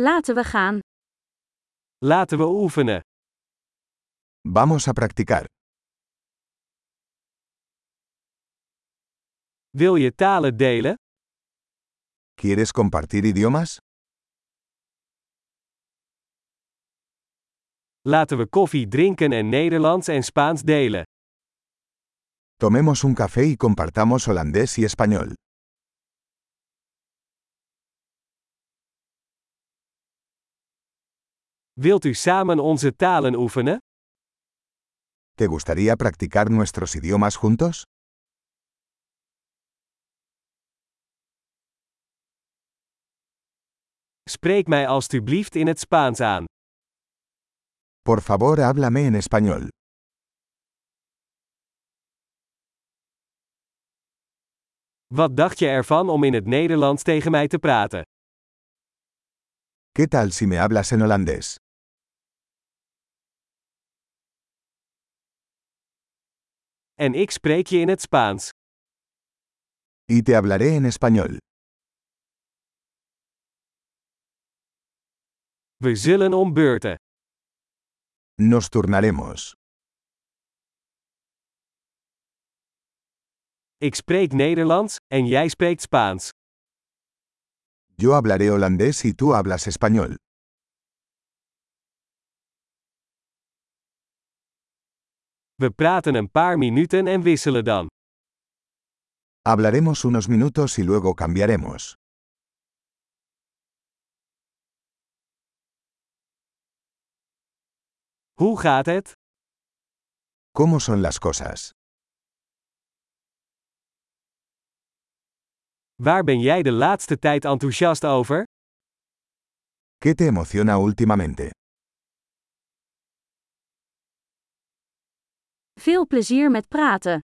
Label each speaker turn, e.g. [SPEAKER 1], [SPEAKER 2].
[SPEAKER 1] Laten we gaan.
[SPEAKER 2] Laten we oefenen.
[SPEAKER 3] Vamos a practicar.
[SPEAKER 2] Wil je talen delen?
[SPEAKER 3] ¿Quieres compartir idiomas?
[SPEAKER 2] Laten we koffie drinken en Nederlands en Spaans delen.
[SPEAKER 3] Tomemos un café y compartamos holandés y español.
[SPEAKER 2] Wilt u samen onze talen oefenen?
[SPEAKER 3] ¿Te gustaría practicar nuestros idiomas juntos?
[SPEAKER 2] Spreek mij alstublieft in het Spaans aan.
[SPEAKER 3] Por favor, háblame en español.
[SPEAKER 2] Wat dacht je ervan om in het Nederlands tegen mij te praten?
[SPEAKER 3] ¿Qué tal si me hablas en holandés?
[SPEAKER 2] En ik spreek je in het Spaans.
[SPEAKER 3] Y te hablaré en español.
[SPEAKER 2] We zullen om beurten.
[SPEAKER 3] Nos turnaremos.
[SPEAKER 2] Ik spreek Nederlands en jij spreekt Spaans.
[SPEAKER 3] Yo hablaré holandés y tú hablas español.
[SPEAKER 2] We praten een paar minuten en wisselen dan.
[SPEAKER 3] Hablaremos unos minutos y luego cambiaremos.
[SPEAKER 2] Hoe gaat het?
[SPEAKER 3] ¿Cómo son las cosas?
[SPEAKER 2] Waar ben jij de laatste tijd enthousiast over?
[SPEAKER 3] ¿Qué te emociona últimamente?
[SPEAKER 1] Veel plezier met praten.